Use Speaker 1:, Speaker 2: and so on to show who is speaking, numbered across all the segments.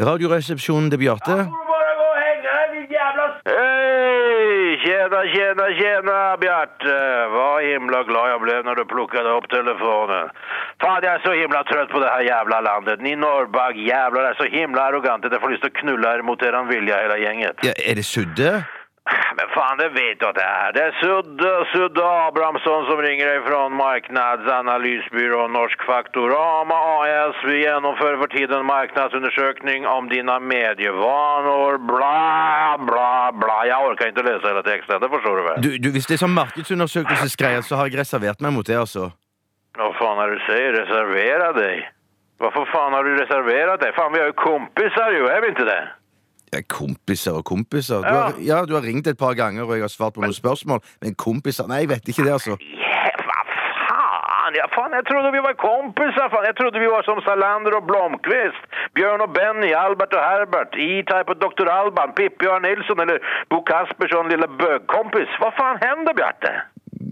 Speaker 1: Radioresepsjonen til Bjarte.
Speaker 2: Hvor må jeg gå og henge her, din jævla s- Hei, tjena, tjena, tjena, Bjarte. Hva himla glad jeg ble når du plukket opp telefonen. Faen, jeg er så himla trøtt på det her jævla landet. Ni Norrbag, jævlar, er så himla arrogante. Jeg får lyst til å knulle her mot eran vilja, hele gjengen.
Speaker 1: Ja, er det sudde?
Speaker 2: Äh, Men faen, det vet du at det er. Det er Sudde, Sudde Abrahamsson som ringer deg fra Marknadsanalysbyrå Norsk Faktorama AS. Vi gjennomfører for tiden marknadsundersøkning om dine medievanor, bla, bla, bla. Jeg orker ikke lese hele teksten, det forstår du vel?
Speaker 1: Du, du, hvis det er sånn markedsundersøkelsesgreier, så har jeg reservert meg mot det, altså.
Speaker 2: Hva faen er det du sier? Reservere deg? Hvorfor faen har du reservert deg? Faen, vi er jo kompiser jo, er vi ikke det?
Speaker 1: Ja, kompiser og kompiser. Du
Speaker 2: Ja.
Speaker 1: har, ja, du har ringt et par ganger, og jeg har svart på noen spørsmål, men kompiser Nei, jeg vet ikke det, altså.
Speaker 2: Ja, hva faen? Ja, faen, jeg trodde vi var kompiser, faen. Jeg trodde vi var som Salander og Blomqvist. Bjørn og Benny, Albert og Herbert, E-Type og Dr. Alban, Pippi-Bjørn Nilsson eller Bo Kaspersson, lille bøgkompis. Hva faen hender, Bjarte?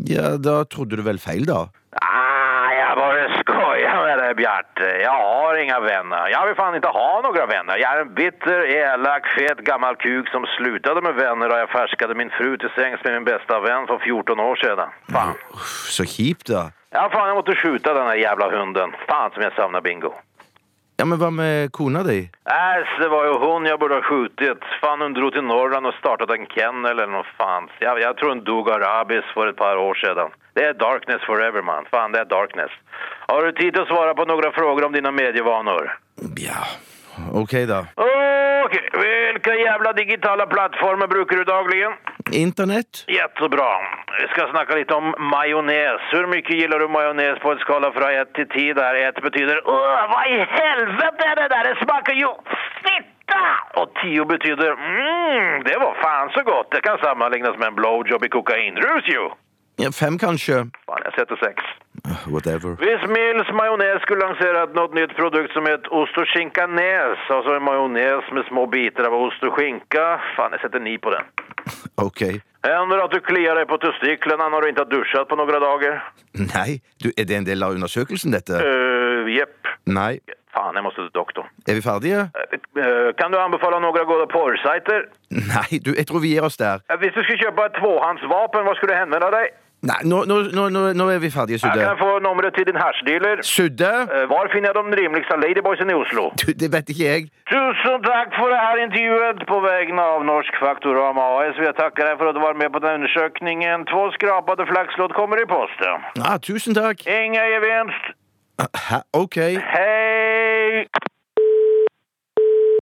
Speaker 1: Ja, da trodde du vel feil, da?
Speaker 2: Ah, jag bara skojar med dig Bjarte. Jag har inga vänner. Jag vill fan inte ha några vänner. Jag är en bitter, elak, fet gammal kuk som slutade med vänner och jag färskade min fru till sängs med min bästa vän för 14 år sedan. Fan.
Speaker 1: Uff, Så kjipt, da.
Speaker 2: Ja, fan jag måste skjuta den här jävla hunden. Fan som jag savnar Bingo.
Speaker 1: Ja, men hva med kona di?
Speaker 2: Äsch, det var ju hon jag borde ha skjutit. Fan, hon drog till Norrland och startade en kennel eller nåt fan. Jag, jag tror hon dog av rabies för ett par år sedan. Det är darkness forever, man. Fan, det är darkness. Har du tid att svara på några frågor om dina medievanor?
Speaker 1: Ja, ok, da.
Speaker 2: Okej, vilka jävla digitala plattformar brukar du dagligen?
Speaker 1: Internett?
Speaker 2: Jättebra. Vi ska snacka lite om majonnäs. Hur mycket gillar du majonnäs på en skala från 1 till 10 där 1 betyder Åh, vad i helvete är det där? Det smakar ju fitta! Och 10 betyder mm, det var fan så gott. Det kan sammanlignas med en blowjob i kokainrus ju.
Speaker 1: Ja, fem, kanskje?
Speaker 2: Fan, jag sätter sex.
Speaker 1: Ah, Whatever.
Speaker 2: Hvis Mills Majones skulle lansert noe nytt produkt som het ost og skinkanes, altså en majones med små biter av ost og skinka Faen, jeg setter ni på den.
Speaker 1: Ok.
Speaker 2: Hender det at du kliar deg på testiklene når du ikke har dusjet på noen dager?
Speaker 1: Nei, du, er det en del av undersøkelsen, dette?
Speaker 2: Uh, jepp.
Speaker 1: Nei.
Speaker 2: Faen, jeg må til doktoren.
Speaker 1: Er vi ferdige?
Speaker 2: Eh, eh, kan du anbefale noen gode porrsajter?
Speaker 1: Nei, du, jeg tror vi gir oss der.
Speaker 2: Eh, hvis du skulle kjøpe et tvåhandsvapen, hva skulle hende med deg?
Speaker 1: Nei, nå, nå, nå, nå, nå er vi ferdige,
Speaker 2: Jeg
Speaker 1: Sudde.
Speaker 2: kan få nummeret til din hasjdealer.
Speaker 1: Sudde?
Speaker 2: Eh, hvor finner jeg de rimeligste ladyboysene i Oslo?
Speaker 1: Du, det vet ikke jeg.
Speaker 2: Tusen takk for det her intervjuet på vegne av Norsk Faktorama AS. Vi takker deg for at du var med på den undersøkningen. To skrapade flakslodd kommer i posten.
Speaker 1: Ah, tusen takk.
Speaker 2: Inga gevinst.
Speaker 1: Hæ, ok.
Speaker 2: Hei!